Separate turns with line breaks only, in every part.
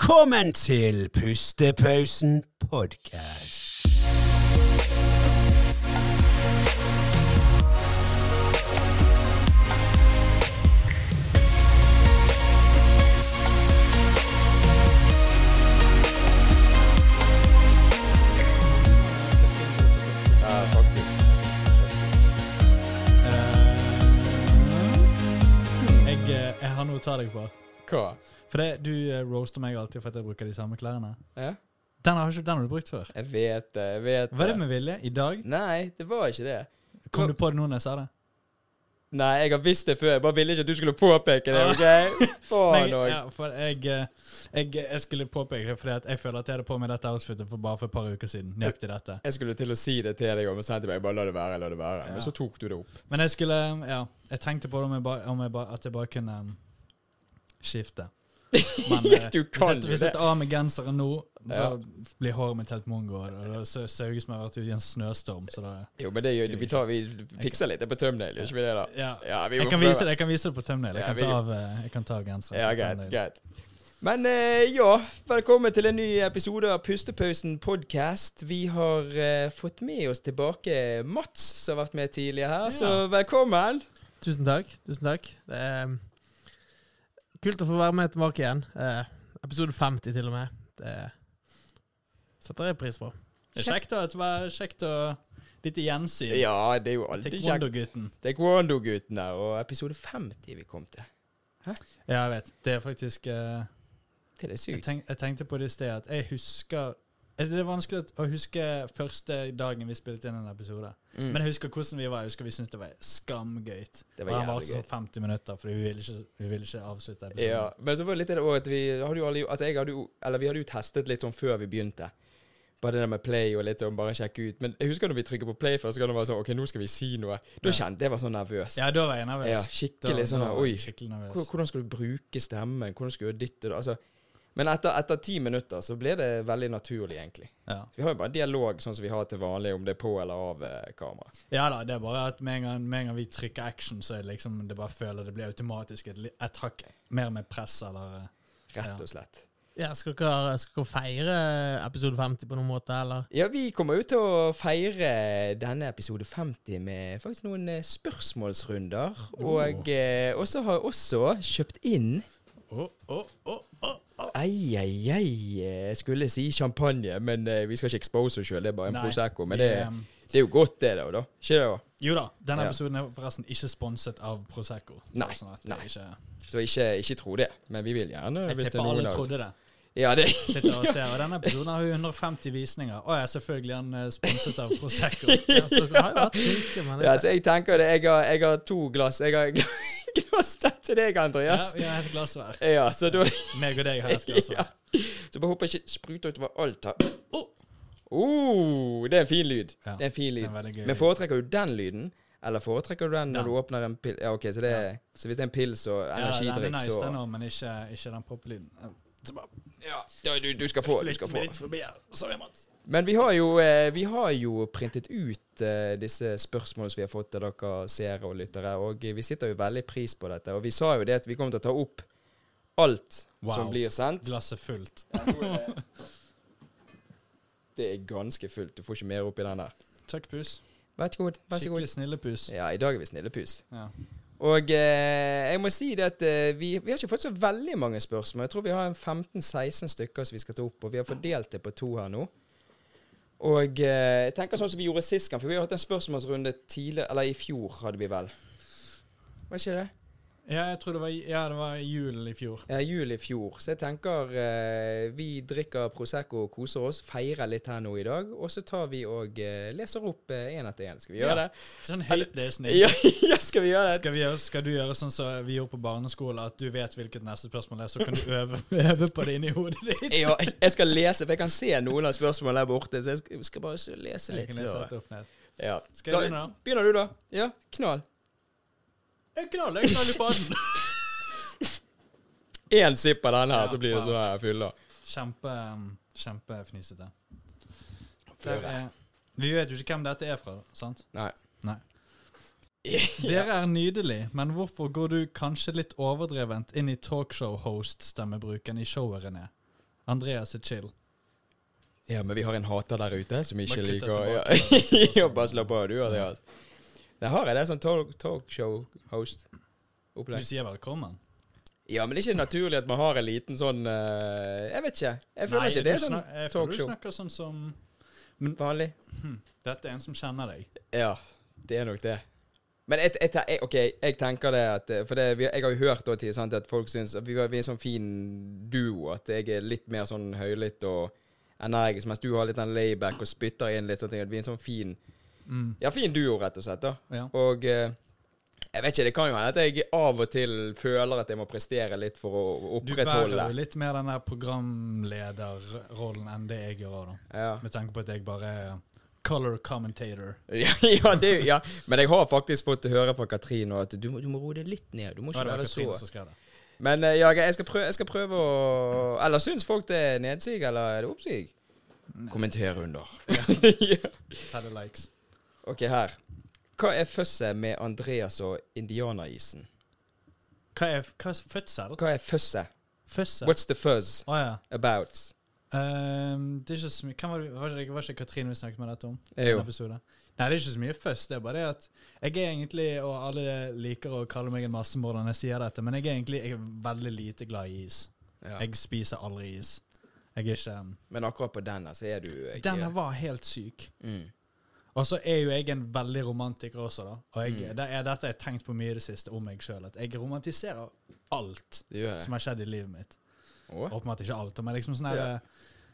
Velkommen til Pustepausen podcast.
Ja, faktisk.
Jeg, eh, jeg har noe å ta deg på.
Hva?
For det, Du eh, roaster meg alltid for at jeg bruker de samme klærne.
Ja,
Den har, ikke, den har du brukt før.
jeg vet det, jeg vet
Var det med vilje? I dag?
Nei, det var ikke det.
Kom du på det nå når jeg sa det?
Nei, jeg har visst det før, jeg bare ville ikke at du skulle påpeke det, ok?
Men
Faen
jeg,
òg.
ja, for jeg, eh, jeg, jeg skulle påpeke det fordi at jeg føler at jeg hadde på meg dette outfitet for bare for et par uker siden. Nøyaktig dette.
Jeg skulle til å si det til deg, og så sendte jeg meg bare la det være, la det være. Men
Ja.
så tok du det opp.
Men jeg skulle Ja, jeg tenkte på det om jeg bare, om jeg bare, at jeg bare kunne um, skifte. Men eh,
Du
hvis
kan
jeg-
jo
hvis
det.
jeg tar av meg genseren nå, da
Ja.
blir håret mitt helt mongo. Og det ser ser ut som jeg har vært ute i en snøstorm. Så da
Jo, men det gjør vi. tar, vi fikser litt det på tømnegl, gjør ikke vi det, da?
Ja.
Ja, vi
Jeg
må
kan,
prøve.
vise det, jeg kan vise det på thumbnail. Jeg
Ja,
kan
vi-
ta av, eh, jeg kan ta av genseren.
Ja,
på
greit,
thumbnail.
greit. Men eh, ja, velkommen til en ny episode av Pustepausen podcast. Vi har eh, fått med oss tilbake Mats, som har vært med tidligere her,
Ja.
så velkommen.
Tusen takk. tusen takk. Det er um, kult å få være med tilbake igjen. Eh, episode 50 til og med. Det setter jeg pris på.
Det er kjekt, da. at Det var kjekt å Litt gjensyn.
Ja, det er jo alltid kjekt.
Taekwondo-gutten.
Taekwondo-guttene og episode 50 vi kom til.
Ja, jeg vet. Det er faktisk eh,
Det er
jeg,
sykt.
tenk, jeg tenkte på det i sted at jeg husker altså, Det er vanskelig å huske første dagen vi spilte inn en episode.
Mm.
Men jeg husker hvordan vi var. Jeg husker Vi syntes det var skamgøy. Og
Det var
Han
jævlig
varte
gøy.
sånn 50 minutter, fordi vi ville ikke, vi ville ikke avslutte episoden.
Ja, men så var det litt det også at vi hadde jo alle, altså jeg hadde jo, eller vi hadde jo testet litt sånn før vi begynte. Bare det der med play og litt sånn, bare sjekke ut. Men jeg husker når vi trykket på play første gang, det var sånn, ok, nå skal vi si noe. Da
Ja.
kjente jeg var sånn nervøs.
Ja, da var jeg nervøs.
Ja,
Da-
skikkelig sånn,
da var
oi,
jeg skikkelig nervøs.
hvor- hvordan skal du bruke stemmen? Hvordan skal du dytte det? Altså, men etter, etter ti minutter så ble det veldig naturlig, egentlig.
Ja.
Vi har jo bare dialog sånn som vi har til vanlig, om det er på eller av eh, kamera.
Ja da, det er bare at med en gang, med en gang vi trykker action, så er det liksom det bare føler det blir automatisk et, li- et hakk mer med press eller eh,
Rett
Ja.
og slett.
Ja, skal dere, skal dere feire episode 50 på noen måte, eller?
Ja, vi kommer jo til å feire denne episode 50 med faktisk noen eh, spørsmålsrunder.
Oh.
Og eh, også har jeg også kjøpt inn
Å, å, å, å, å.
Ei, ei, ei. eh, Jeg skulle si champagne, men eh, vi skal ikke expose oss sjøl. Det er bare en
Nei,
Prosecco. Men
vi,
det,
ehm,
det er jo godt, det, da. da. Ikke det? da?
Jo da, denne
Ja.
episoden er forresten ikke sponset av Prosecco.
Nei,
Sånn at det
nei.
Ikke,
Så ikke, ikke tro det. Men vi vil gjerne
jeg
hvis det
tipper
er noen
alle
av
trodde det.
Ja, det
Sitter og ser, og Denne episoden har jo 150 visninger. Å ja, selvfølgelig er den eh, sponset av Prosecco.
Ja, så dere Altså, har jo vært flinke, men
ja, så jeg tenker det. Jeg har, jeg har to glass. Jeg har glass til deg,
Ja,
Andreas.
vi har et glass hver.
Ja, så da
Meg og deg har et glass
Ja.
hver.
Så bare håper jeg ikke spruter utover alt her. Oh, det er en fin lyd.
Ja,
Det er en fin
det
lyd.
er veldig gøy.
Men foretrekker du den lyden, eller foretrekker du den når
Den.
du åpner en pil? Ja, ok, så, det er, så hvis det er en pils og
Ja, den er
energidrikk,
nice,
så
den òg, men ikke, ikke den poplyden. Så bare
Ja, da- du, du skal få. Du skal
flytt
få.
meg litt forbi her. Sorry, Mats.
Men vi har jo, eh, vi har jo printet ut eh, disse spørsmålene som vi har fått av dere seere og lyttere, og vi sitter jo veldig pris på dette. Og vi sa jo det at vi kommer til å ta opp alt
Wow.
som blir sendt.
Glasset fullt.
Det er ganske fullt. Du får ikke mer oppi den der.
Takk, pus.
Vær så god. Vær så
Skikkelig
god.
snille pus.
Ja, i dag er vi snillepus.
Ja.
Og eh, jeg må si det at eh, vi, vi har ikke fått så veldig mange spørsmål. Jeg tror vi har en 15-16 stykker som vi skal ta opp, og vi har fordelt det på to her nå. Og eh, jeg tenker sånn som vi gjorde sist gang, for vi har hatt en spørsmålsrunde tidligere, eller i fjor hadde vi vel. Var ikke det?
ja, jeg tror det var, ja, det var i julen i fjor.
Ja, jul i fjor. Så jeg tenker eh, vi drikker Prosecco og koser oss, feirer litt her nå i dag, og så tar vi og eh, leser opp én etter én. Skal vi gjøre
Ja.
det?
Sånn høyt det er snill.
Ja, ja, skal vi gjøre det?
Skal, vi gjøre, skal du gjøre sånn som vi gjorde på barneskolen, at du vet hvilket neste spørsmål er, så kan du øve, øve på det inni hodet ditt?
Ja, jeg skal lese, for jeg kan se noen av spørsmålene der borte. Så jeg skal, skal bare s- lese
Jeg
litt.
kan lese
før.
dette opp ned.
Ja.
Skal jeg
Ta-
begynne, da?
Begynner du, da? Ja, knall.
Jeg knall, jeg knall i baden.
Én sipp av denne, her,
Ja,
så blir det
wow.
sånn her fylla.
Kjempe, mm, kjempefnisete. Der er- Vi vet jo ikke hvem dette er fra, sant?
Nei.
Nei. Dere er nydelig, men hvorfor går du kanskje litt overdrevent inn i talkshow-host-stemmebruken i showet, René? Andreas er chill.
Ja, men vi har en hater der ute som ikke
Bare kutte
liker
tilbake
ja.
til det siste
Ja,
som-
Bare slapp av, du, Andreas. Der har jeg det som talk- talkshow-host-opplegg.
Du sier velkommen.
Ja, men det er ikke naturlig at man har en liten sånn eh, Jeg vet ikke. Jeg føler
Nei,
ikke det er
du
sånn
snak- jeg føler du
talkshow.
snakker sånn som
Vanlig.
Dette er en som kjenner deg.
Ja, det er nok det. Men jeg, jeg, jeg, ok, jeg tenker det at eh, For det, vi- jeg har jo hørt da, til, sant, at folk syns at vi, var- vi er en sånn fin duo. At jeg er litt mer sånn høylytt og energisk, mens du har litt den layback og spytter inn litt sånne ting. At vi er en sånn fin
Mm.
Ja, fin duo, rett og slett. da
Ja.
Og eh, jeg vet ikke, det kan jo hende at jeg av og til føler at jeg må prestere litt for å
Du bærer jo
opprettholde.
litt mer den der programlederrollen enn det jeg gjør nå.
Ja.
Med tanke på at jeg bare er color commentator.
Ja, ja, det, ja, men jeg har faktisk fått høre fra Katrin nå at du må, du må roe det litt ned. Du må
Da
ikke
er det altså.
være så
Katrine som skrev det.
Men eh, ja, jeg, skal prøve, jeg skal prøve å Eller syns folk det er nedsig, eller er det oppsig? Kommenter under. ja.
Telle likes.
Ok, her. Hva er føsset med Andreas og indianerisen?
Hva er, hva er fødsel?
Hva er føsset?
Fødsel?
What's the fuzz
Å ja.
about?
Ehm, det er ikke så mye Hvem var det var ikke, var ikke Katrine vi snakket med dette om?
Eh, jo.
Denne episoden? Nei, det er ikke så mye først. Det er bare det at jeg er egentlig, og alle liker å kalle meg en massemorder når jeg sier dette, men jeg er egentlig jeg er veldig lite glad i is.
Ja.
Jeg spiser aldri is. Jeg er ikke
Men akkurat på denne så er du jeg,
Denne var helt syk.
mm.
Og så er jo jeg en veldig romantiker også, da. Og jeg,
Mm.
det er dette har jeg tenkt på mye i det siste om meg sjøl. At jeg romantiserer alt
Du gjør det.
som har skjedd i livet mitt.
Å?
Åpenbart ikke alt, men liksom sånn her
Ja.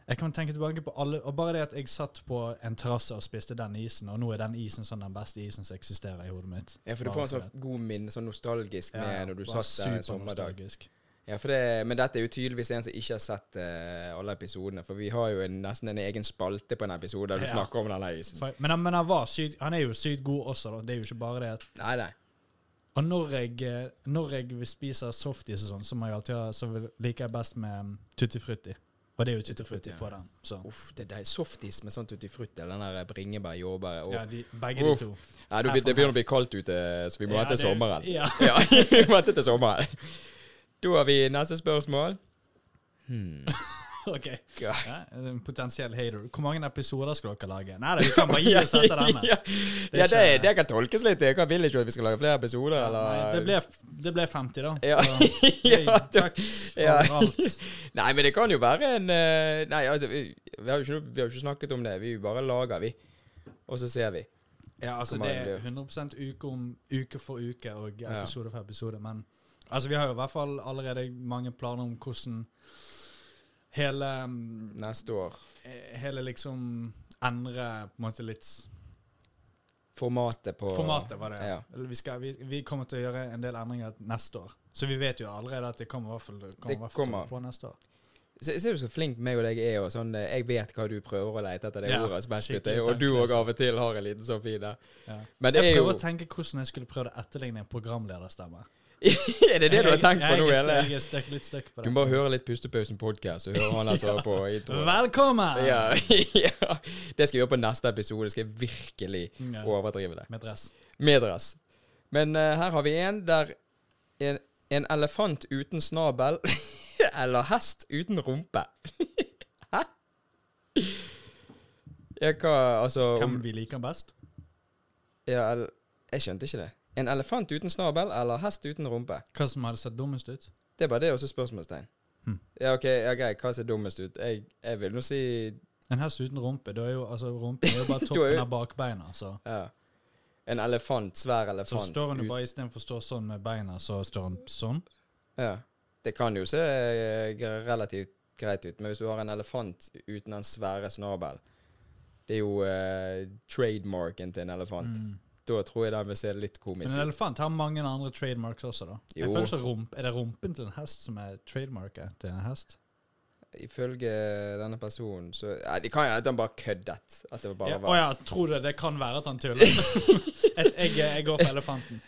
Jeg kan tenke tilbake på alle Og bare det at jeg satt på en terrasse og spiste den isen, og nå er den isen sånn den beste isen som eksisterer i hodet mitt.
Ja, for du får en sånn god minne, sånn nostalgisk med når du satt der en sommerdag. Ja, for det, Men dette er jo tydeligvis en som ikke har sett eh, alle episodene. For vi har jo en, nesten en egen spalte på en episode der du
Ja.
snakker om denne isen.
Men, han- men han var sykt Han er jo sykt god også, da. Det er jo ikke bare det at
Nei, nei.
Og når jeg, eh, når jeg vil spise softis og sånn, så, må jeg alltid, ha- så vil- liker jeg best med mm, tutti frutti. Og det er jo tutti frutti
ja.
på den. Så.
Uff, det er deil- softis med sånt uti frutt eller den der bringebær, jordbær og
Ja, de, begge
Uff.
de to.
Nei, du, det begynner å bli kaldt ute, så vi må
Ja,
vente til
det-
sommeren.
Ja.
Ja, vi må vente til sommeren. Da har vi neste spørsmål. Hmm.
ok.
Ja.
Ja, en potensiell hater. Hvor mange episoder skal dere lage? Nei, det, vi kan bare gi oss etter denne.
ja,
er
ja det,
ikke-
det kan tolkes litt. Jeg vil ikke at vi skal lage flere episoder, eller
Nei, det, ble, f- det ble 50, da.
Ja.
Så, hey,
Ja, det-
takk for
ja.
alt.
Nei, men det kan jo være en eh, Nei, altså, vi, vi, har jo ikke, noe- vi har jo ikke snakket om det. Vi bare lager, vi. Og så ser vi.
Ja, altså
Kommer
det
det
er
bli.
100 uke om uke for uke og
Ja.
episode for episode, men altså vi har jo i hvert fall allerede mange planer om hvordan hele mm,
Neste år.
eh, hele liksom endre på en måte litt s-
Formatet på
Formatet var det.
Ja.
Eller Vi, skal, vi, vi kommer til å gjøre en del endringer neste år. Så vi vet jo allerede at det kommer i hvert fall, det kommer,
Det
i hvert fall til å
kommer.
gå på neste år.
Se- Ser du så flink meg og deg er, og sånn eh, Jeg vet hva du prøver å lete etter det
Ja,
ordet som jeg spytter
skikkelig
i, og du
tanklig,
òg av og til har en liten sånn fin der.
Ja.
Men det
Jeg
er jo
prøver å tenke hvordan jeg skulle prøvd å etterligne en programlederstemme.
Er det det du har tenkt på nå,
Jeg, jeg,
hele?
jeg, jeg er støkk- litt støkk på
Du
det.
må bare høre litt Pustepausen podcast, så hører han altså på introen.
Velkommen!
Ja, ja. Det skal vi gjøre på neste episode. Skal jeg virkelig
Ja.
overdrive det.
Med dress.
Med dress. Men eh, her har vi en der en, en elefant uten snabel eller hest uten rumpe. Hæ? Ja, hva Altså om,
Hvem vi liker best?
ja, el, Jeg skjønte ikke det. En elefant uten snabel eller hest uten rumpe?
Hva som hadde sett dummest ut?
Det er bare det, og så spørsmålstegn.
Hmm.
Ja, OK, ja, greit. Hva ser dummest ut? Jeg, jeg vil nå si
En hest uten rumpe, da er jo altså rumpen er jo bare
Da er
toppen
jo-
av bakbeina. Så,
ja. En elefant. Svær
så
elefant.
står han jo
ut-
bare istedenfor å stå sånn med beina, så står han sånn.
Ja. Det kan jo se eh, gre- relativt greit ut, men hvis du har en elefant uten den svære snabel Det er jo eh, trademarken til en elefant.
Mm.
Da tror jeg den vil se litt komisk
Men en
ut.
elefant har mange andre trademarks også, da. Jeg
Jo.
føler ikke rump, Er det rumpen til en hest som er trademarket til en hest?
Ifølge denne personen så Nei, det kan jo hende han bare køddet. At det
Å
bare
ja,
var ja,
tror du det kan være at han tuller? Et, jeg, jeg går for elefanten.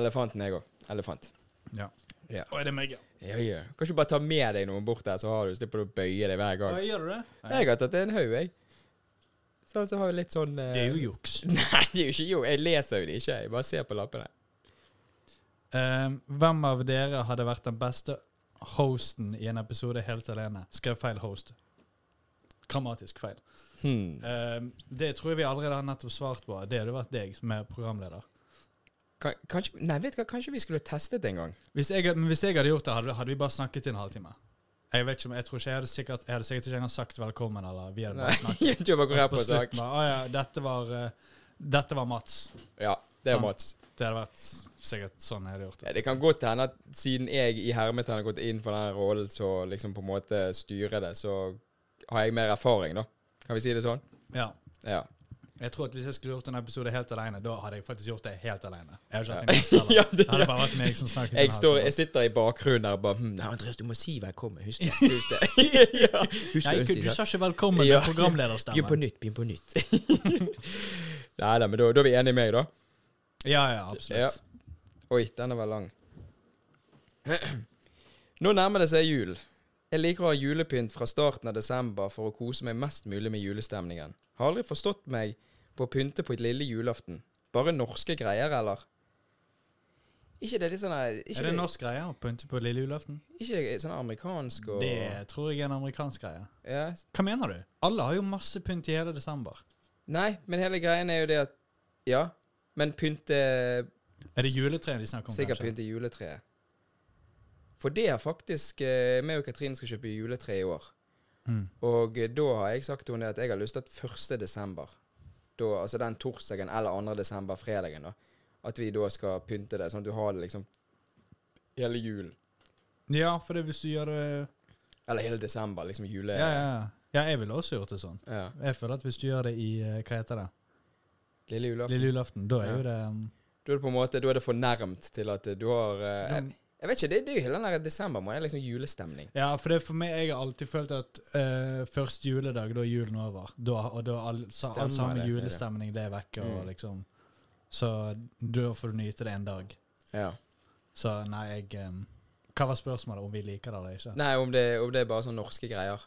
elefanten jeg òg. Elefant.
Ja.
Ja.
Å, er det meg, ja?
Ja, ja. Kan ikke du bare ta med deg noen bort der, så har du slipper du å bøye deg hver
Å,
gang.
gjør du det?
Jeg har tatt en haug, jeg. Sånn så har vi litt sånn eh,
Det er jo juks.
Nei, det er jo ikke jo. Jeg leser jo det ikke. Jeg bare ser på lappene.
Ehm, Eh, hvem av dere hadde vært den beste hosten i en episode helt alene. Skrev feil host. Grammatisk feil.
Hmm.
Eh, det tror jeg vi allerede har nettopp svart på. Det hadde vært deg som er programleder.
Kan, kanskje, nei, vet du hva, kanskje vi skulle testet det en gang.
Hvis jeg, men hvis jeg hadde gjort det, hadde, hadde vi bare snakket i en halvtime. Jeg vet ikke om, jeg tror ikke jeg hadde sikkert, jeg hadde sikkert ikke engang sagt velkommen, eller vi hadde
Nei,
bare snakket.
du bare
Og
går
så
rett på sak.
slutten bare, «Å ja, dette var, eh, dette var Mats.
Ja, det er
Sant.
Mats.
Det hadde vært sikkert sånn jeg hadde gjort det.
Ja, det kan godt hende at siden jeg i hermetegn har gått inn for denne rollen, så liksom på en måte styre det, så har jeg mer erfaring, da. Kan vi si det sånn?
Ja.
Ja.
Jeg tror at hvis jeg skulle gjort en episode helt alene, da hadde jeg faktisk gjort det helt alene. Jeg har ikke hatt en
Ja.
gjest heller.
Ja, det-
Det hadde bare vært meg som snakket. i en
Jeg, står,
halvtime.
jeg sitter i bakgrunnen der og bare hm, ja, Andreas, du må si velkommen. Husk det. Husk det. ja. Husk
Nei,
det,
du,
husk
du
det.
sa ikke velkommen med
Ja. Begynn på
programlederstemmen.
nytt. Begynn på nytt. Nei da, men da, da er vi enige med meg, da.
Ja, ja, absolutt.
Oi, den var lang. Nå nærmer det seg jul. Jeg liker å ha julepynt fra starten av desember for å kose meg mest mulig med julestemningen. Har aldri forstått meg på å pynte på et lille julaften. Bare norske greier, eller? Ikke det litt sånn her Ikke
Er det en norsk greie å pynte på lille julaften?
Ikke det sånn amerikansk og
Det tror jeg er en amerikansk greie.
ja.
Hva mener du? Alle har jo masse pynt i hele desember.
Nei, men hele greien er jo det at Ja, men pynte
Er det juletreet de snakker om,
Sikkert
kanskje?
pynte juletreet. For det er faktisk eh, meg og Katrine skal kjøpe juletre i år.
Mm.
Og eh, da har jeg sagt til henne at jeg har lyst til at 1. desember, da, altså den torsdagen eller 2. desember, fredagen, da, at vi da skal pynte det, sånn at du har det liksom hele julen.
Ja, for det hvis du gjør det
Eller hele desember, liksom jule...
Ja, ja, ja. ja jeg ville også gjort det sånn.
Ja.
Jeg føler at hvis du gjør det i eh, Hva heter det?
Lille julaften.
Lille julaften. Da er
Ja.
jo det um,
Da er det på en måte, da er det fornærmt til at eh, du har eh,
Da-
jeg, jeg vet ikke, det, det er jo hele den der desember, man er liksom julestemning.
Ja, for det er for meg Jeg har alltid følt at eh, første juledag, da er julen over. Da, og da er all, sa, all
Stemmer
samme
det, det er det.
julestemning det er vekke, og
Mm.
liksom Så da får du nyte det en dag.
Ja.
Så nei, jeg um, Hva var spørsmålet? Om vi liker det eller ikke?
Nei, om det, om det er bare sånne norske greier.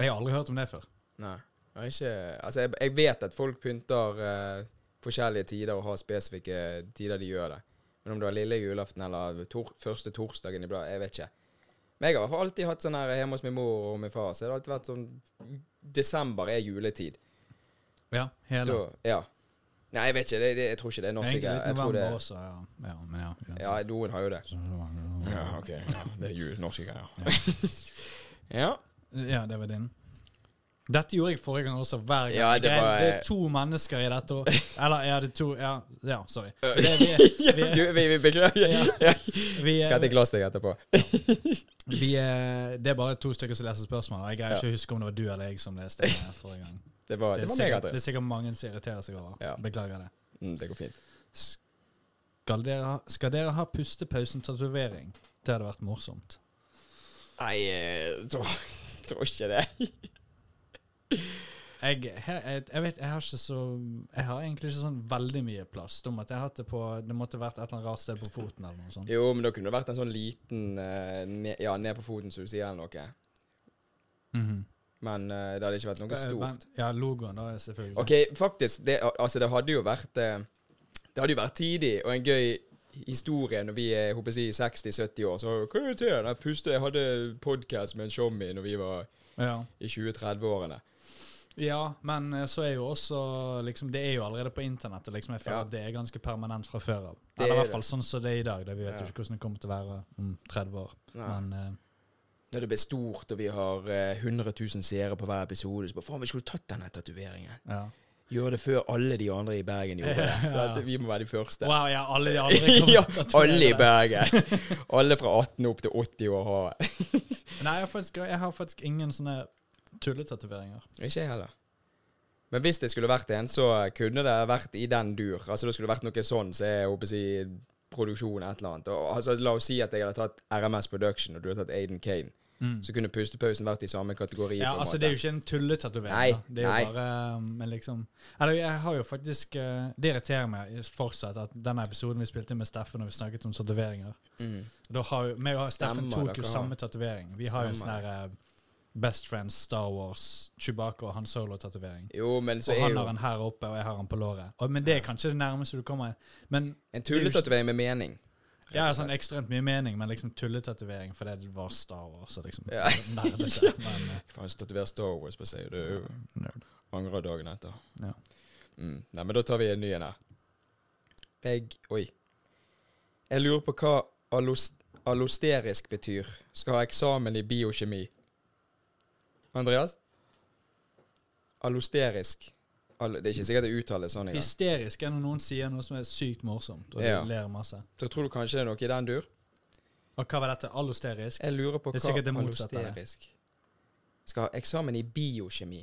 Jeg har aldri hørt om det før.
Nei. Jeg har ikke, altså jeg, jeg vet at folk pynter eh, forskjellige tider og har spesifikke tider de gjør det. Men om det var lille julaften eller tor første torsdagen i bladet, jeg vet ikke. Men jeg har i hvert fall alltid hatt sånn her hjemme hos min mor og min far, så det har alltid vært sånn Desember er juletid.
Ja, hele
Da, ja. Nei, jeg vet ikke. Det, det, jeg tror ikke det er norsk.
Egentlig
Jeg,
litt
jeg tror det
november også, altså. Sånn ja. ja, men ja, uansett.
Ja, noen har jo det. Ja, ok. det er jul, norske greier. ja.
Ja, det var din. Dette gjorde jeg forrige gang også, hver gang.
Ja, det
Jeg-
var-
det er to mennesker i dette år. Eller er det to Ja, ja sorry. Det, er vi,
Du, vi, vi beklager.
Ja.
Ja.
vi,
Skal hente et
er,
glass til deg etterpå.
vi er, det er bare to stykker som leser spørsmål. og Jeg greier ikke å huske om det var du eller jeg som leste det forrige gang.
Det var,
Det
det
er
var meg,
sikkert, det
Andreas.
er sikkert mange som irriterer seg over.
Ja.
Beklager det.
Mm, det går fint.
Skal dere, ha- skal dere ha pustepausen-tatovering? Det hadde vært morsomt.
Nei, jeg tror, tror ikke det.
Jeg, her, jeg, jeg vet, jeg har ikke så Jeg har egentlig ikke sånn veldig mye plass. Om at jeg har hatt det på Det måtte vært et eller annet rart sted på foten eller noe sånt.
Jo, men da kunne det vært en sånn liten eh, ne, Ja, ned på foten, som du sier, eller noe.
Mhm.
Men eh, det hadde ikke vært noe
Men-
stort.
Ja, logoen, da, selvfølgelig.
OK, faktisk, det, al- altså, det hadde jo vært eh, Det hadde jo vært tidig og en gøy historie når vi er jeg håper jeg, å si, 60-70 år. Så hva er det? Jeg puste, jeg hadde podkast med en showmy når vi var
Ja.
i 20-30-årene.
ja, men eh, så er jo også liksom, Det er jo allerede på internettet. Liksom, jeg føler
Ja.
at det er ganske permanent fra før av.
Det
Eller i
er
hvert
det.
fall sånn som det er i dag. Da. Vi vet jo
Ja.
ikke hvordan det kommer til å være om 30 år.
Nei.
Men eh,
Når det blir stort, og vi har eh, 100 000 seere på hver episode, så bare faen, vi skulle tatt denne tatoveringen.
ja.
Gjøre det før alle de andre i Bergen gjorde det. Så at vi må være de første.
Wow, ja, alle de andre kommer
ja,
til å tatovere
alle i
det.
Bergen. Alle fra 18 opp til 80 år har
Nei, jeg har faktisk, jeg har faktisk ingen sånne tulletatoveringer.
Ikke jeg heller. Men hvis det skulle vært en, så kunne det vært i den dur. Altså det skulle vært noe sånn, så jeg håper å si produksjon, et eller annet. Og, altså, la oss si at jeg hadde tatt RMS Production, og du hadde tatt Aiden Kane. Så kunne pustepausen vært i samme kategori.
Ja,
på en
altså
måte.
Det er jo ikke en tulletatovering.
Nei,
da. Det er jo
nei.
bare um, men liksom Eller jeg har jo faktisk eh, Det irriterer meg fortsatt at denne episoden vi spilte inn med Steffen når vi snakket om tatoveringer
Mm.
Da har jo meg og Steffen
Stemmer,
tok
dere
jo
har.
samme tatovering. Vi har jo en sånn
Stemmer.
her eh, Best Friends, Star Wars, Chewbacca og Han Solo-tatovering.
Jo, men så
Og han
er
har
jo
en her oppe, og jeg har en på låret. Og, men det er kanskje det nærmeste du kommer. Men
en tulletatovering med mening.
Jeg har sånn ekstremt mye mening, men liksom tulletatovering fordi det var Star Wars. Og liksom
Ja.
nerdete. Men eh,
Faen, hvis du tatoverer Star Wars på seg, du er jo
nerd.
angrer dagen etter.
Ja.
Mm. Nei, men da tar vi en ny en her. Jeg Oi. Jeg lurer på hva allos- allosterisk betyr. Skal ha eksamen i biokjemi. Andreas? Allosterisk. All, det er ikke sikkert det uttales sånn engang.
Hysterisk er når noen sier noe som er sykt morsomt, og de
Ja.
ler masse.
Så tror du kanskje det er noe i den dur?
Og hva var dette? Allosterisk?
Jeg lurer på
Det er
hva
sikkert det motsatte, det.
allosterisk Skal ha eksamen i biokjemi.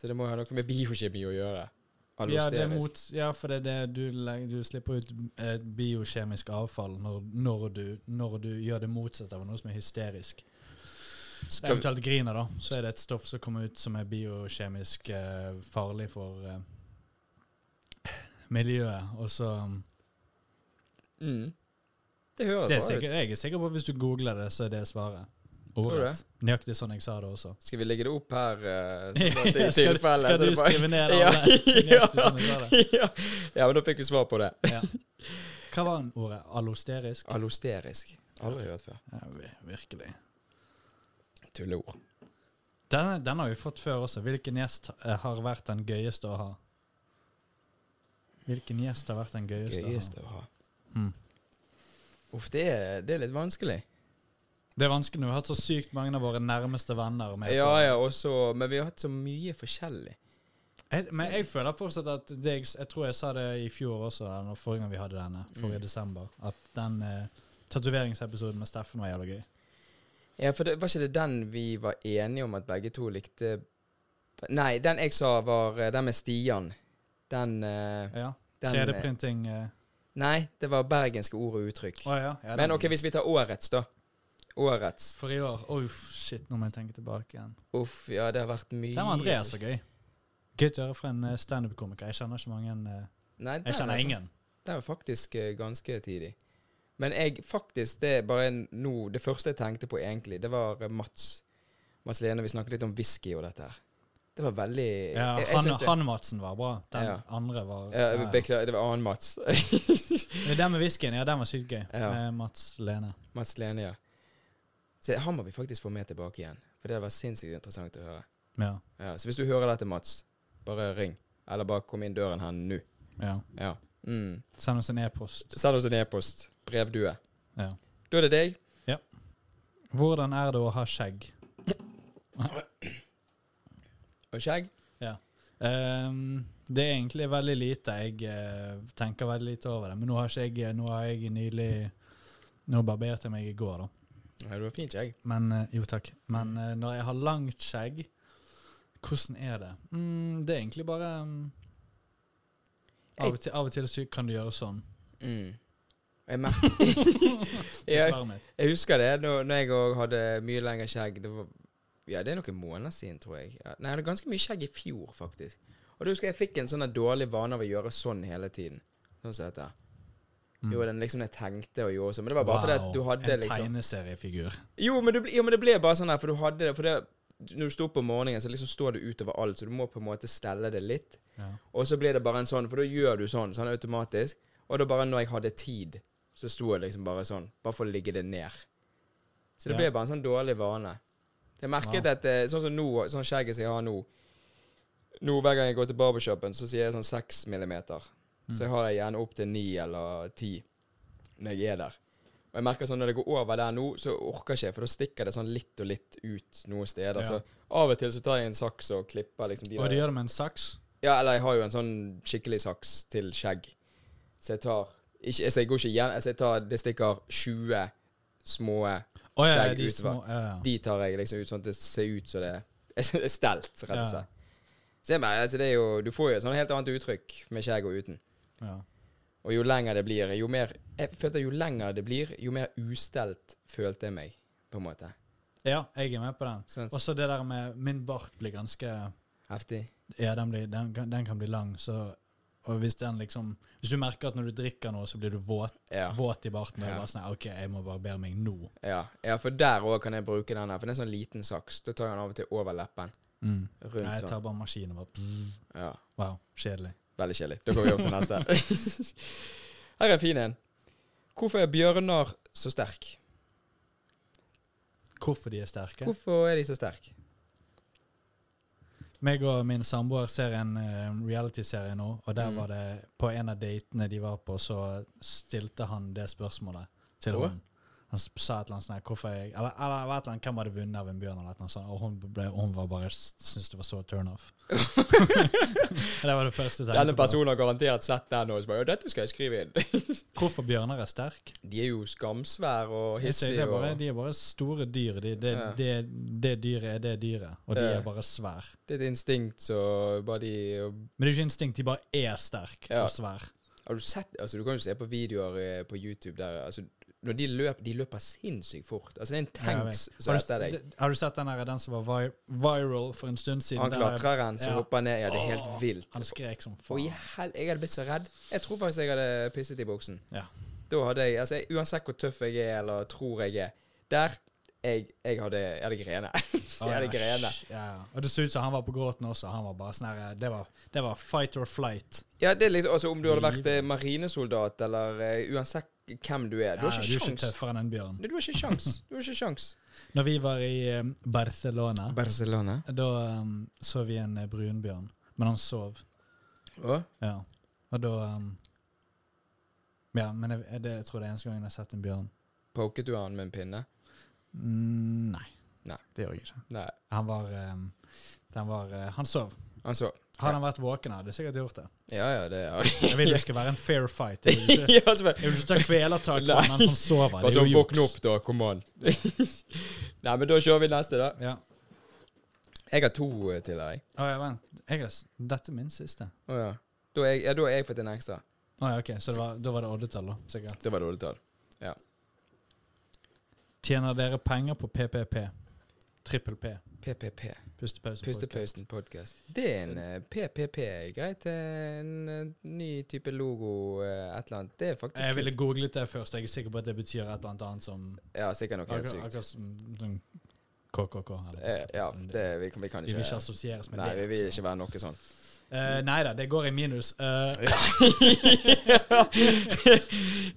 Så det må jo ha noe med biokjemi å gjøre.
Ja, det er
Allosterisk.
mot, ja, for det er det du, leg- du slipper ut eh, biokjemisk avfall når, når, du, når du gjør det motsatte av noe som er hysterisk.
Skal,
Eventuelt griner, da. Så er det et stoff som kommer ut som er biokjemisk eh, farlig for eh, miljøet. Og så
mm. Det høres
det er
bra ut.
sikkert, Jeg er sikker på at hvis du googler det, så er det svaret.
du det?
Ordrett. Nøyaktig sånn jeg sa det også.
Skal vi legge det opp her? eh, sånn at det
skal, skal
i tilfelle, så
du
det bare-
skrive ned
Ja,
alle? Nøyaktig sånn jeg sa det.
ja. ja, men da fikk vi svar på det.
Ja. Hva var en ordet? Allosterisk?
Allosterisk. Aldri hørt før.
Ja, vi- virkelig.
Tulleord.
Denne, den har vi fått før også. Hvilken gjest eh, har vært den gøyeste å ha? Hvilken gjest har vært den gøyeste,
Gøyeste å
å
ha.
ha? Mm.
Uff, det er, det er litt vanskelig.
Det er vanskelig når vi har hatt så sykt mange av våre nærmeste venner med. på.
Ja, ja, også, men vi har hatt så mye forskjellig.
Jeg, men jeg føler fortsatt at det jeg, s- jeg tror jeg sa det i fjor også, eller når forrige gang vi hadde denne, forrige
Mm.
desember, at den eh, tatoveringsepisoden med Steffen var jævla gøy.
Ja, for det, Var ikke det den vi var enige om at begge to likte Nei, den jeg sa, var eh, den med Stian. Den, eh,
Ja.
den eh,
3D-printing eh.
Nei, det var bergenske ord og uttrykk.
Å ja. ja
Men
den-
OK, hvis vi tar årets, da. Årets.
For i år Oi, shit, nå må jeg tenke tilbake igjen.
Uff, ja, det har vært mye
Den var Andreas var gøy. Gøy å høre fra en eh, standup-komiker. Jeg kjenner ikke mange eh,
Nei, den
Jeg kjenner
er-
ingen.
Den var faktisk eh, ganske tidlig. Men jeg faktisk Det er bare en- nå Det første jeg tenkte på, egentlig, det var eh, Mats. Mats Lene, vi snakket litt om whisky og dette her. Det var veldig
Ja,
Eh, jeg- jeg
han,
synes det-
han Madsen var bra. Den
Ja.
andre var
ja,
ja.
Beklager, det var annen Mats.
Men Den med whiskyen, ja, den var sykt gøy.
Ja.
Med Mats Lene.
Mats Lene, ja. Så han må vi faktisk få med tilbake igjen. For det hadde vært sinnssykt interessant å høre.
Ja.
Ja, så hvis du hører dette, Mats, bare ring. Eller bare kom inn døren her nå.
ja.
Ja. Mm.
Send oss en e-post.
Send oss en e-post. Brevdue.
Ja.
Da er det deg.
Hvordan er det å ha skjegg?
Og skjegg.
Ehm, det er egentlig veldig lite. Jeg eh, tenker veldig lite over det. Men nå har ikke jeg eh, Nå har jeg nylig Nå barberte jeg meg i går, da.
Ja, du har fint skjegg.
Men eh, Jo, takk. Men eh, når jeg har langt skjegg, hvordan er det? Mm, det er egentlig bare mm, av, og til, av og til så kan du gjøre sånn.
Mm. Jeg, mer-
Det er
jeg,
svaret mitt.
jeg husker det når, når jeg òg hadde mye lengre skjegg. Det var, ja, det er noen måneder siden, tror jeg. Ja, nei, jeg hadde ganske mye skjegg i fjor, faktisk. Og da husker jeg jeg fikk en sånn der dårlig vane av å gjøre sånn hele tiden. Sånn som dette.
Mm.
Jo, den liksom jeg tenkte å gjøre sånn. Men det var bare fordi at du hadde
en
liksom
tegneseriefigur.
Jo, men det, ble- jo, men det ble bare sånn her, for du hadde det For det, når du sto opp om morgenen, så liksom står det utover alt, så du må på en måte stelle det litt.
Ja.
Og så blir det bare en sånn, for da gjør du sånn, sånn automatisk. Og da bare når jeg hadde tid, så sto jeg liksom bare sånn. Bare for å ligge det ned. Så det
Ja.
ble bare en sånn dårlig vane. Så Jeg merket
Wow.
at eh, sånn som nå, sånn skjegget som jeg har nå Nå hver gang jeg går til barbershopen, så sier jeg sånn 6 millimeter.
Mm.
Så jeg har jeg gjerne opp til 9 eller 10 når jeg er der. Og jeg merker sånn når det går over der nå, så orker ikke jeg, for da stikker det sånn litt og litt ut noen steder.
Ja.
Så av og til så tar jeg en saks og klipper liksom de
Og du gjør det med en saks?
ja, eller jeg har jo en sånn skikkelig saks til skjegg. Så jeg tar ikke, altså Jeg går ikke igjen. Altså jeg tar, det stikker 20 små
Å ja,
Skjegg
de
utover.
små ja, ja.
De tar jeg liksom ut sånn at det ser ut som det er stelt, rett og
Ja.
slett. Se meg, altså det er jo, Du får jo et sånn helt annet uttrykk med skjegg og uten.
ja.
Og jo lenger det blir, jo mer Jeg følte jo lenger det blir, jo mer ustelt følte jeg meg, på en måte.
ja, jeg er med på den.
Sånn
Og så det der med Min bart blir ganske
heftig.
Ja, den, blir, den, kan- den kan bli lang, så og hvis, den liksom, hvis du merker at når du drikker noe, så blir du våt,
Ja.
våt i barten. Og
Ja.
bare sånn, OK, jeg må barbere meg nå.
Ja, ja for der òg kan jeg bruke den her. For det er en sånn liten saks. Da tar jeg den av og til over leppen. Rundt
Mm. Nei, jeg
sånn.
tar bare maskinen og bare pff.
Ja.
Wow, kjedelig.
Veldig kjedelig. Da går vi over til neste. Her er en fin en. Hvorfor er bjørner så sterk?
Hvorfor de er sterke.
Hvorfor er de så sterke?
Meg og min samboer ser en eh, reality-serie nå, og der
Mm.
var det på en av datene de var på, så stilte han det spørsmålet til
Åh?
henne. Han s- sa et eller annet sånn her Hvorfor er jeg Eller, eller, eller et eller annet, hvem hadde vunnet av en bjørn? Eller et eller annet sånt. Og hun, ble, hun var bare syntes det var så turn-off. det var det første jeg
Denne
tenkte på.
personen har garantert sett den og så bare, «Ja, dette skal jeg skrive inn.
Hvorfor bjørner er sterke?
De er jo skamsvære og
Jeg sier, det
hissige.
er bare,
og-
de er bare store dyr. De, det,
Ja.
det, det dyret er det dyret, og de
Ja.
er bare svære.
Det er et instinkt så bare de og-
Men det er jo ikke instinkt, de bare er sterke
Ja.
og svære.
Har du sett Altså, du kan jo se på videoer eh, på YouTube der altså, Når de løper De løper sinnssykt fort. Altså, det er en tanks som
Har,
etter
du-
deg.
d- har du sett den, her, den som var vi viral for en stund siden?
Han
Der
klatrer en, så
Ja.
hopper han ned. Ja, det er
Åh,
helt vilt.
Han skrek som
Og i
faen.
hel... Jeg hadde blitt så redd. Jeg tror faktisk jeg hadde pisset i buksen.
Ja.
Da hadde jeg Altså, jeg, uansett hvor tøff jeg er, eller tror jeg er Der jeg, jeg hadde Jeg hadde grene. jeg hadde grene.
Ja, ja. Og det så ut som han var på gråten også. Han var bare sånn her det, var- det var fight or flight.
Ja, det er liksom Altså, om du hadde vært eh, marinesoldat, eller eh, uansett hvem du
Ja,
er, du har ikke sjans.
tøffere enn en bjørn.
Nei, Du har ikke sjans. Du har ikke sjans.
Når vi var i eh, Barcelona,
Barcelona.
da em, så vi en eh, brunbjørn, men han sov.
Å?
Ja. Og da em, Ja, men jeg, jeg- det, jeg tror det er eneste gangen jeg har sett en bjørn.
Poket du han med en pinne?
Mm, nei.
Nei.
Det gjorde jeg ikke.
Nei.
Han var, em, den var eh, Han sov.
Han så
Hadde han vært våken, hadde du sikkert gjort det.
Ja, ja, altså, det har jeg.
Jeg vil det skal være en fair fight. Jeg vil ikke,
ja, så bare-
jeg vil ikke ta kvelertak på
Nei.
han mens han sover.
Bare
Det er
sånn,
jo
våkne
juks.
opp, da. Kom an. Nei, men da kjører vi neste, da.
Ja.
Jeg har to eh, til her, jeg.
Å, ja, vent. Jeg har, s- dette er min siste.
Å ja. Da har jeg, ja, da har jeg fått en ekstra.
Å, ja, ok, Så det var, da var det oddetall, da. Sikkert.
Det var dårlig tall.
Tjener dere penger på PPP? Trippel P.
PPP.
Pustepause.
Pustepausen podcast. Det er en eh, PPP. Greit. eh, En eh, ny type logo, eh, et eller annet. Det er faktisk
Jeg ville googlet det først. Jeg er sikker på at det betyr et eller annet annet som
Ja, sikkert noe helt
Akkurat
sykt.
akkurat som som KKK. eller-
Eh, Ja, det, vi, kan, vi kan
Vi vil ikke
ikke
assosieres med
Nei, vi
det.
vil ikke være noe sånn.
Eh, nei da, det går i minus. Eh, det,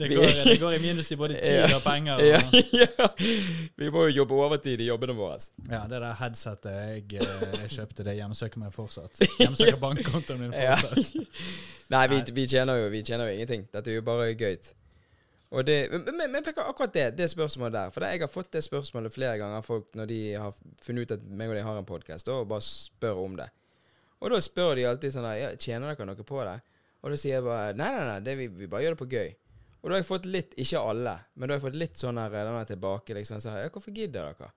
Vi-
går, det går i minus i både tid og penger. Og,
Ja, ja. Vi må jo jobbe overtid i jobbene våre.
Ja, det der headsetet jeg, eh, jeg kjøpte, det hjemsøker meg fortsatt. Hjemsøker bankkontoen min
Ja.
fortsatt.
Nei, vi,
Nei.
vi, tjener jo, vi tjener jo ingenting. Dette er jo bare gøy. Og det, men, men- men fikk akkurat det, det spørsmålet der. For det, jeg har fått det spørsmålet flere ganger av folk når de har funnet ut at meg og de har en podkast, og bare spør om det. Og da spør de alltid sånn der, ja, tjener dere noe på det? Og da sier jeg bare nei, nei, nei, det, vi, vi bare gjør det på gøy. Og da har jeg fått litt, ikke alle, men da har jeg fått litt sånn her, denne tilbake, liksom. Så, her, ja, hvorfor gidder dere?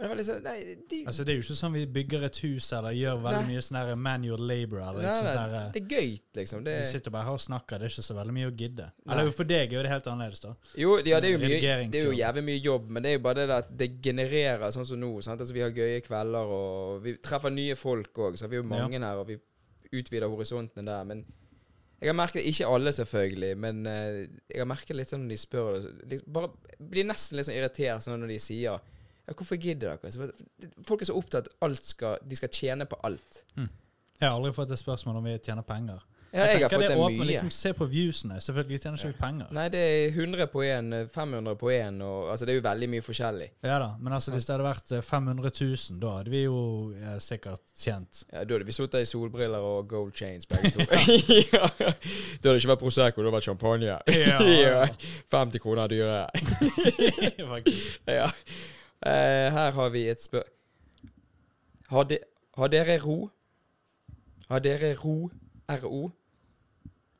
Og det var liksom, nei, de,
Altså, det er jo ikke sånn vi bygger et hus eller gjør veldig mye sånn her manual labor. eller
nei,
liksom
nei,
sånn her,
det er gøy, liksom. Det,
Vi sitter bare her og snakker, det er ikke så veldig mye å gidde.
Nei.
Eller jo, for deg er jo det helt annerledes, da.
Jo, ja, det er jo, mye,
Redigeringsjobb.
det er jo jævlig mye jobb, men det er jo bare det der at det genererer sånn som nå. Sant? Altså, vi har gøye kvelder, og vi treffer nye folk òg, så vi er jo mange her, og vi utvider horisontene der. Men jeg har merket Ikke alle, selvfølgelig, men eh, jeg har merket litt sånn når de spør liksom, bare, Blir nesten litt sånn irritert sånn når de sier ja, 'Hvorfor gidder dere?' Så bare, folk er så opptatt av at alt skal, de skal tjene på alt.
Jeg har aldri fått et spørsmål om vi tjener penger.
Ja, jeg, har
tenker
fått det,
er åpent,
mye.
Liksom, se på viewsene. Selvfølgelig tjener ikke vi penger.
Nei, det er 100 på én, 500 på én, og altså, det er jo veldig mye forskjellig.
Ja da, men altså, hvis det hadde vært eh, 500 000, da hadde vi jo eh, sikkert tjent
Ja, da hadde vi sittet i solbriller og gold chains, begge to. ja. Da hadde det ikke vært Prosecco, det hadde vært champagne.
Ja.
50 kroner dyre.
Faktisk.
ja. Eh, her har vi et spør... Har, de, har dere ro? Har dere ro? RO?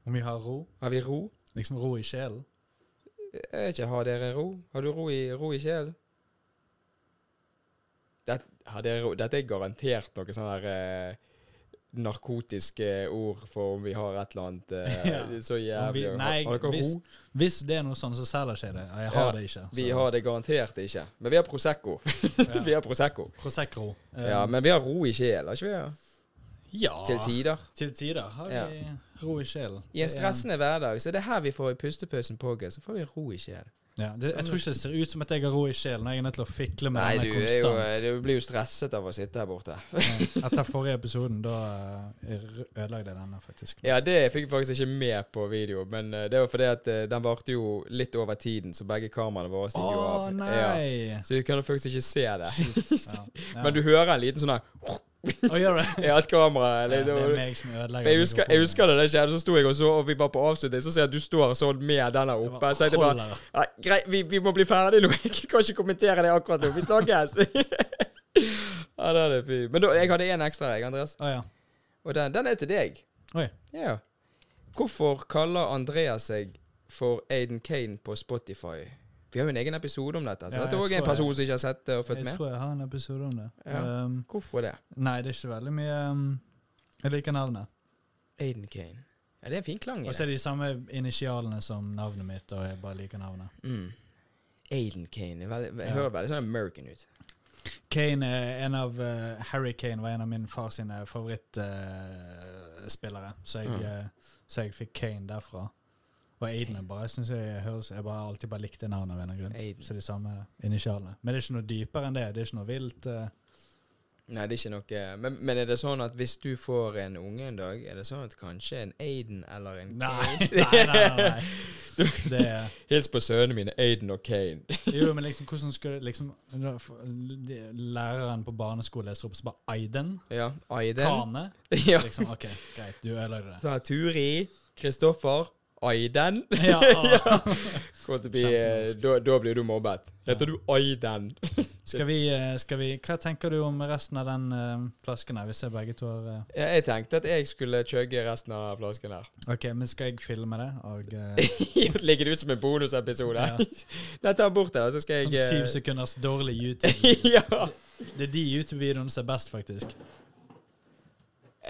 Om vi har ro?
Har vi ro?
Liksom ro i sjelen?
Jeg vet ikke, har dere ro? Har du ro i, ro i sjelen? Det- Har dere ro? Dette er garantert noe sånn her eh, narkotiske ord for om vi har et eller annet eh,
Ja.
det er Så
Om vi-
jævlig.
nei,
har, har dere
hvis,
ro?
hvis det er noe sånn, så selger ikke jeg det. Jeg
Ja,
har det ikke.
Vi
så-
har det garantert ikke. Men vi har Prosecco. vi har Prosecco.
Prosecco. Eh,
Ja, men vi har ro i sjelen, har ikke vi? det?
ja,
Til tider.
til tider har vi
Ja.
ro i sjelen.
I
Det
en
er-
stressende hverdag, så det er her vi får i pustepausen pågå, så får vi ro i sjelen.
Ja, det, jeg tror ikke det ser ut som at jeg har råd i sjelen. Jeg er nødt til å fikle med
Nei,
denne
du, er jo, eh,
konstant.
du blir jo stresset av å sitte her borte.
Ja, Etter forrige episoden, da eh, r- ødelagde jeg denne, faktisk.
Ja, det fikk jeg faktisk ikke med på video, men eh, det var fordi at eh, den varte jo litt over tiden, så begge kameraene våre
Å
stikker jo av. Ja.
nei!
Så vi kunne faktisk ikke se det.
Ja, ja.
Men du hører en liten sånn her
Å, gjør det?
Ja, et kamera
Ja, det
liksom.
er meg som ødelegger
For jeg husker, jeg
mikrofonen.
husker da det skjedde, så sto jeg og så, og vi var på avslutning, så ser jeg at du står sånn med den her
Det
oppe.
var
Så tenkte jeg bare
kolera.
ja, Greit, vi, vi må bli ferdig nå. Jeg kan ikke kommentere det akkurat nå. Vi snakkes. ja, det er det fint. Men da, jeg hadde én ekstra, jeg, Andreas.
Å ja.
Og den, den er til deg.
Oi.
Ja. Hvorfor kaller Andreas seg for Aiden Kane på Spotify? Vi har jo en egen episode om dette. Så
Ja,
dette er
jeg
også en
tror jeg-
person som ikke har sett det og fulgt
Jeg
med.
tror jeg har en episode om det.
Ja.
Um,
Hvorfor det?
nei, det er ikke veldig mye um, Jeg liker navnet.
Aiden Kane. Ja, det er en fin klang i
Og så
det.
er det de samme initialene som navnet mitt, og jeg bare liker navnet.
Mm. Aiden Kane. det er Veldig, jeg
Ja.
hører veldig sånn American ut.
Kane er en av eh, Harry Kane var en av min far sine favorittspillere, så, jeg,
Mm.
eh, så jeg fikk Kane derfra. Og Aiden er bare Jeg synes jeg høres Jeg bare alltid bare likte navnet av en eller annen grunn.
Aiden.
Så de samme initialene. Men det er ikke noe dypere enn det. Det er ikke noe vilt. eh.
Nei, det er ikke noe men, men er det sånn at hvis du får en unge en dag, er det sånn at kanskje en Aiden eller en
Nei,
Kane
nei, nei. nei, nei. Det er
Hils på sønnene mine, Aiden og Kane.
Jo, men liksom, hvordan skulle liksom da f- de- Læreren på barneskole leser opp så bare Aiden?
Ja, Aiden.
Kane?
Ja.
Liksom, OK, greit, du ødelagde det.
Sånn her, Turi, Kristoffer, Aiden.
Ja, og,
Kommer til å bli, eh, da, da blir du mobbet. Heter du Aiden?
skal, vi, eh, skal vi Hva tenker du om resten av den eh, flasken her, hvis jeg begge to har eh,
Ja, jeg tenkte at jeg skulle chugge resten av flasken her.
OK, men skal jeg filme det? Og eh,
Legge det ut som en bonusepisode.
Ja.
Nei, ta den bort der, så skal
sånn
jeg eh,
syv sekunders dårlig YouTube.
ja.
Det er de YouTube-videoene som er best, faktisk.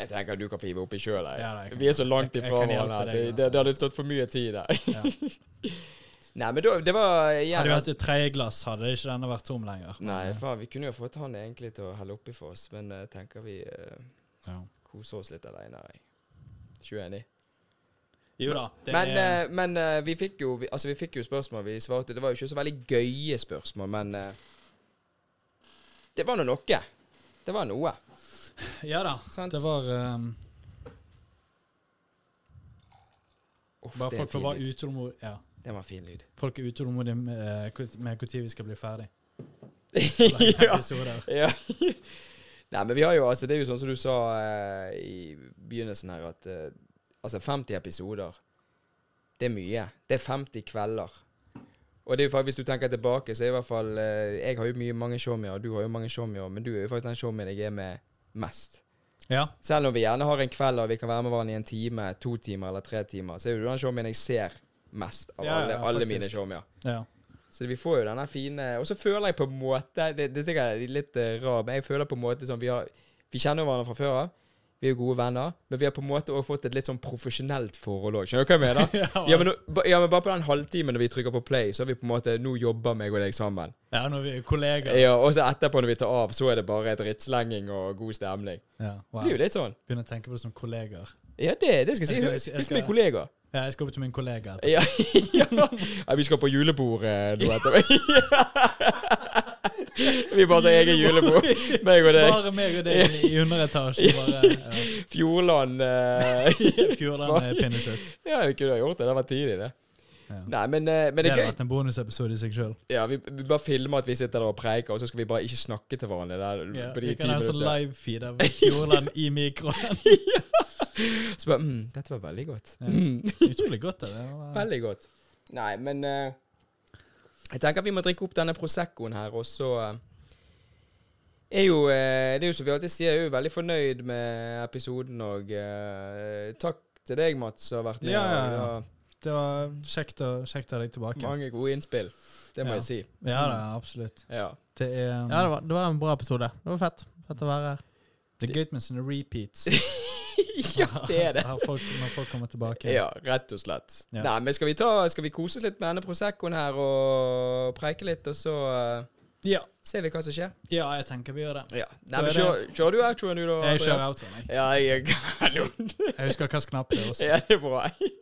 Jeg tenker du kan hive oppi sjøl.
Ja, det kan
Vi er så langt
jeg- jeg
ifra
kan hjelpe
hverandre. at
deg,
Det, det,
altså.
det hadde stått for mye tid der.
Ja.
Nei, men da, det var igjen
Hadde vi
altså-
hatt et tredje glass, hadde ikke denne vært tom lenger.
Nei, faen, vi kunne jo fått han egentlig til å helle oppi for oss, men jeg tenker vi eh,
Ja.
koser oss litt aleine, jeg. Ikke uenig.
Jo da. Det
Men,
er,
eh, men eh, vi fikk jo vi, Altså, vi fikk jo spørsmål vi svarte. Det var jo ikke så veldig gøye spørsmål, men eh, Det var nå noe. Det var noe.
ja da.
eh, Sant?
Det var eh,
Uff,
Bare
det er en
folk får
fin
bare
lyd.
utålmodige. Ja.
Det var en fin lyd.
Folk er utålmodige eh, med når vi skal bli ferdig.
ja.
Episoder.
Ja. Nei, men vi har jo altså Det er jo sånn som du sa eh, i begynnelsen her, at eh, altså 50 episoder, det er mye. Det er 50 kvelder. Og det er jo faktisk, hvis du tenker tilbake, så er i hvert fall eh, Jeg har jo mye mange showmier, og du har jo mange showmier, men du er jo faktisk den showmien jeg er med mest.
Ja.
Selv om vi gjerne har en kveld og vi kan være med hverandre i en time, to timer eller tre timer, så er jo du den showmien jeg ser mest av
Ja, ja,
alle,
ja,
alle
faktisk.
mine showmier.
ja.
Så vi får jo denne fine Og så føler jeg på en måte Det, det er sikkert litt uh, rar, men jeg føler på en måte som vi har Vi kjenner hverandre fra før av. Vi er jo gode venner, men vi har på en måte også fått et litt sånn profesjonelt forhold òg. Skjønner du hva jeg mener? Ja men, nå- ba- ja, men bare på den halvtimen når vi trykker på play, så har vi på en måte Nå jobber meg og deg sammen.
ja, når vi er kollegaer.
Ja, Og så etterpå, når vi tar av, så er det bare drittslenging og god stemning.
Ja, wow.
Det blir jo litt sånn.
Begynner å tenke på det som kollegaer.
Ja, det, det
Jeg
skal
skal-
jeg
jeg
si.
skal-
Husk med kollegaer.
Ja, jeg skal opp til min kollega. etterpå.
Ja, ja. Nei, vi skal på julebord eh, nå etter hvert. Vi bare sier egen julebord. Meg og deg.
Bare meg og deg i underetasjen. Bare ja.
Fjordland eh.
Fjordland er pinnekjøtt.
Ja, vi kunne ha gjort det. Det var tidlig, det.
Ja.
Nei, men, eh, men
Det
det
hadde
er gøy.
vært en bonusepisode i seg sjøl.
Ja, vi, vi bare filmer at vi sitter der og preiker, og så skal vi bare ikke snakke til hverandre der
Ja,
på de
vi
ti
kan ha en sånn
minuttene.
livefeed av Fjordland i mikroen.
Så bare mm, Dette var veldig godt.
Ja.
Mm,
Utrolig godt. Det. det.
veldig godt. Nei, men eh, Jeg tenker vi må drikke opp denne Proseccoen her, og så eh, er jo, eh, Det er jo som vi alltid sier, jeg er jo veldig fornøyd med episoden, og eh, takk til deg, Mats, som har vært med.
Ja, ja, ja.
og
det var kjekt å, kjekt å ha deg
det var
tilbake.
Mange gode innspill. Det må
Ja.
jeg si.
Ja da, absolutt.
Ja.
Det er,
Ja, det var, det var en bra episode. Det var fett. Fett å være her.
det er gøy med sånne repeats.
ja, det er det.
Her folk, når folk kommer tilbake.
Ja, rett og slett.
Ja.
Nei, men skal vi, ta, skal vi kose oss litt med denne Proseccoen her og preike litt, og så eh,
Ja,
ser vi hva som skjer?
ja, jeg tenker vi gjør det.
Ja.
Da
Nei, men
er
kjør, kjører du outroen, du, da?
Jeg
Andreas?
kjører outroen, jeg.
Ja, jeg er
Jeg husker hvilken knapp det er også.
Ja, det er bra.